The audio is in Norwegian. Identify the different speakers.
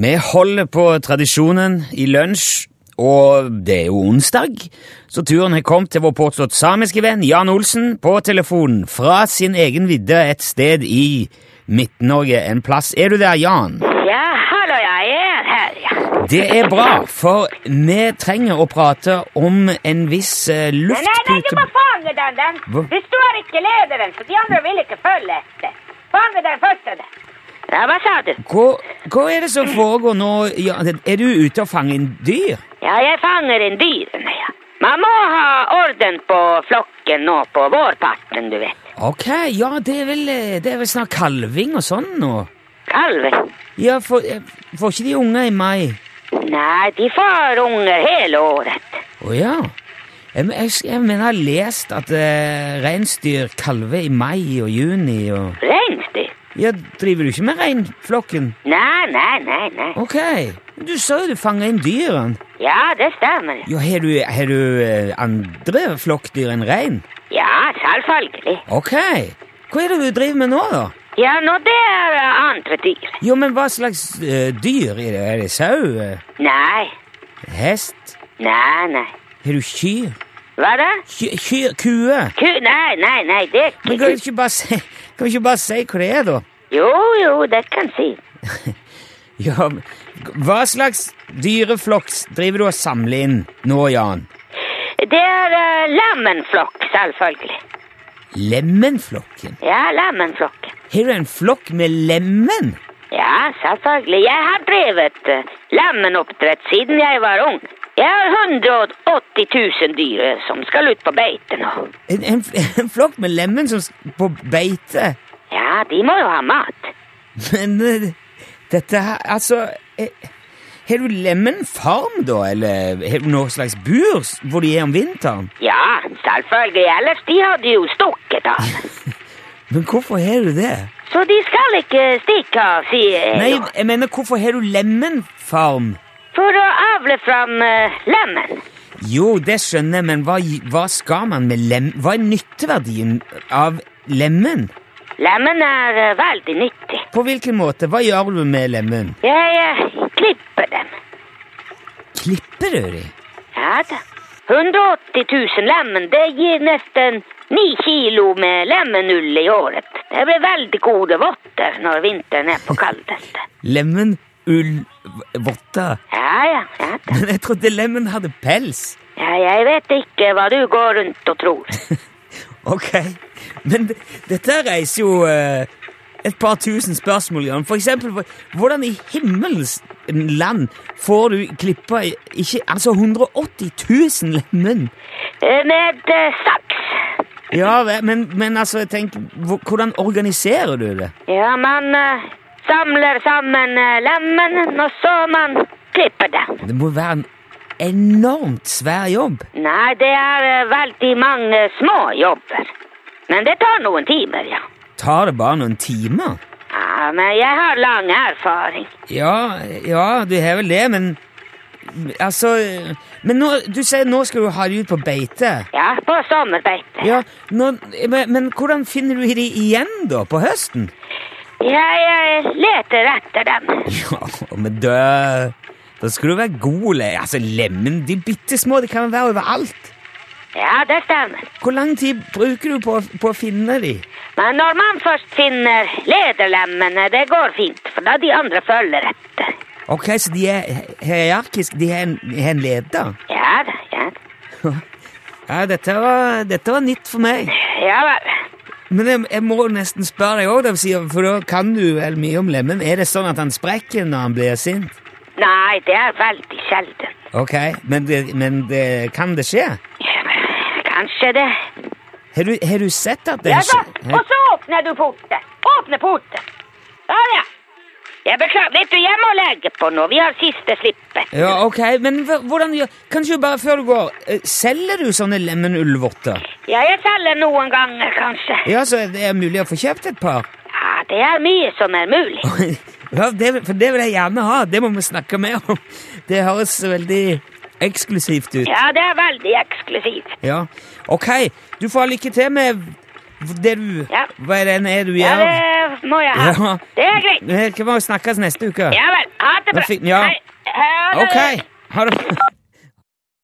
Speaker 1: Vi holder på tradisjonen i lunsj, og det er jo onsdag, så turen har kommet til vår påstått samiske venn Jan Olsen på telefonen fra sin egen vidde et sted i Midt-Norge en plass. Er du der, Jan?
Speaker 2: Ja, hallo, jeg er her, ja.
Speaker 1: Det er bra, for vi trenger å prate om en viss eh,
Speaker 2: Nei, nei, nei, du må
Speaker 1: luftpute...
Speaker 2: fange den, den.
Speaker 1: Hva?
Speaker 2: Hvis du er ikke lederen, så de andre vil ikke følge etter. Fange den første, den. Ja, hva sa du?
Speaker 1: Hva, hva er det som foregår nå? Jan? Er du ute og fanger inn dyr?
Speaker 2: Ja, jeg fanger en dyr, ja. Man må ha orden på flokken nå på vårparten, du vet.
Speaker 1: Ok, ja, det er vel, eh, det er vel snart kalving og sånn nå.
Speaker 2: Kalven.
Speaker 1: Ja, får eh, får ikke de unger i mai?
Speaker 2: Nei, de får unger hele året.
Speaker 1: Å ja. Jeg, men- jeg, jeg mener jeg har lest at eh, reinsdyr kalver i mai og juni og
Speaker 2: Reinsdyr.
Speaker 1: Ja, driver du ikke med reinflokken?
Speaker 2: Nei, nei, nei, nei.
Speaker 1: Ok. Du sa jo du fanga inn dyrene.
Speaker 2: Ja, det stemmer.
Speaker 1: Jo, har du, har du eh, andre flokkdyr enn rein?
Speaker 2: Ja, selvfølgelig.
Speaker 1: Ok. Hva er det du driver med nå, da?
Speaker 2: Ja, nå det er eh, andre dyr.
Speaker 1: Jo, men hva slags eh, dyr er det? Er det sau? eh,
Speaker 2: Nei,
Speaker 1: Hest?
Speaker 2: nei, nei.
Speaker 1: Har du kyr?
Speaker 2: Hva da?
Speaker 1: Ky- Kyr? Kuer?
Speaker 2: Ku, nei, nei, nei, det er
Speaker 1: Men
Speaker 2: ikke
Speaker 1: kan du ikke bare si, kan du ikke bare si hva det er, da?
Speaker 2: Jo, jo, det kan si.
Speaker 1: Ja, men hva slags dyreflokk driver du og samler inn nå, Jan?
Speaker 2: Det er eh, lammenflokk, selvfølgelig.
Speaker 1: Lemenflokken?
Speaker 2: Ja, lammenflokk.
Speaker 1: Har du en flokk med lemen?
Speaker 2: Ja, selvfølgelig. Jeg har drevet eh, lammenoppdrett siden jeg var ung. Jeg har 180 000 dyr eh, som skal ut på beite nå.
Speaker 1: En, en, en flokk med lemen som s- på beite?
Speaker 2: Ja, de må jo ha mat.
Speaker 1: Men eh, dette her Altså eh, Har du lemenfarm, da? Eller har du noe slags bur s- hvor de er om vinteren?
Speaker 2: Ja, selvfølgelig. Ellers de hadde jo stukket av.
Speaker 1: Men hvorfor har du det?
Speaker 2: Så de skal ikke stikke av, sier jeg.
Speaker 1: Nei,
Speaker 2: jo.
Speaker 1: jeg mener, hvorfor har du lemenfarm?
Speaker 2: For å avle fram eh, lammen.
Speaker 1: Jo, det skjønner jeg, men hva, hva skal man med lem... Hva er nytteverdien av lemmen?
Speaker 2: Lammen er eh, veldig nyttig.
Speaker 1: På hvilken måte? Hva gjør du med lemmen?
Speaker 2: Jeg eh, klipper dem.
Speaker 1: Klipper du dem?
Speaker 2: Ja da. 180 000 lemmen, det gir nesten 9 kilo med lemenull i året. Det blir veldig gode votter når vinteren er på kaldest.
Speaker 1: Lemmen, ull, v- votter?
Speaker 2: Ja, ja, ja da.
Speaker 1: Men jeg trodde lemmen hadde pels.
Speaker 2: Ja, jeg vet ikke hva du går rundt og tror.
Speaker 1: Ok, men d- dette reiser jo eh, et par tusen spørsmål, Jan. For eksempel, hva- hvordan i himmels land får du klippa i- ikke, altså 180 000 lemmen?
Speaker 2: Eh, Med eh, saks.
Speaker 1: Ja, ve- men, men altså, tenk, hvor- hvordan organiserer du det?
Speaker 2: Ja, man eh, samler sammen eh, lemmen, og så man klipper dem.
Speaker 1: Det må være en enormt svær jobb.
Speaker 2: Nei, det er eh, veldig mange små jobber. Men det tar noen timer, ja.
Speaker 1: Tar det bare noen timer?
Speaker 2: Ja, men jeg har lang erfaring.
Speaker 1: Ja, ja, du har vel det, men Altså Men nå, du sier nå skal du ha de ut på beite.
Speaker 2: Ja, på sommerbeite.
Speaker 1: Ja, nå, men, men hvordan finner du de igjen, da? På høsten?
Speaker 2: Jeg eh, leter etter dem.
Speaker 1: Ja, men da Da skal du være god, le- altså lemen, de bitte små, de kan være overalt.
Speaker 2: Ja, det stemmer.
Speaker 1: Hvor lang tid bruker du på, på å finne de?
Speaker 2: Men når man først finner lederlemmene, det går fint, for da de andre følger etter.
Speaker 1: Ok, så de er hierarkiske, de har en, har en leder?
Speaker 2: Ja da, ja da.
Speaker 1: Ja, dette var, dette var nytt for meg.
Speaker 2: Ja vel.
Speaker 1: Men jeg, jeg må nesten spørre deg òg, for da kan du vel mye om lemmen. Er det sånn at han sprekker når han blir sint?
Speaker 2: Nei, det er veldig sjelden.
Speaker 1: Ok, men, det, men det, kan det skje?
Speaker 2: Ja, men Kanskje det.
Speaker 1: Har du, har du sett at det
Speaker 2: Ja da,
Speaker 1: skje-
Speaker 2: og så åpner du porten. Åpne porten. Ja, ja. Jeg beklager, vet du, jeg må legge på nå. Vi har siste slippet.
Speaker 1: Ja, ok, men hva- hvordan gjør Kanskje bare før du går, eh, selger du sånne lemenullvotter?
Speaker 2: Ja, jeg selger noen ganger, kanskje.
Speaker 1: Ja, så det er mulig å få kjøpt et par?
Speaker 2: Ja, det er mye som er mulig.
Speaker 1: Ja, det, for det vil jeg gjerne ha. Det må vi snakke mer om. Det høres veldig eksklusivt ut.
Speaker 2: Ja, det er veldig eksklusivt.
Speaker 1: Ja, ok. Du får ha lykke til med det du
Speaker 2: Ja.
Speaker 1: Hva er det, er du
Speaker 2: Ja,
Speaker 1: gjør?
Speaker 2: det må jeg ha.
Speaker 1: Ja.
Speaker 2: Det er greit.
Speaker 1: Vi kan bare snakkes neste uke.
Speaker 2: Ja vel. Ha det. det
Speaker 1: Nå
Speaker 2: bra.
Speaker 1: fikk- ja.
Speaker 2: Nei, ha det.
Speaker 1: Ok. Ha det.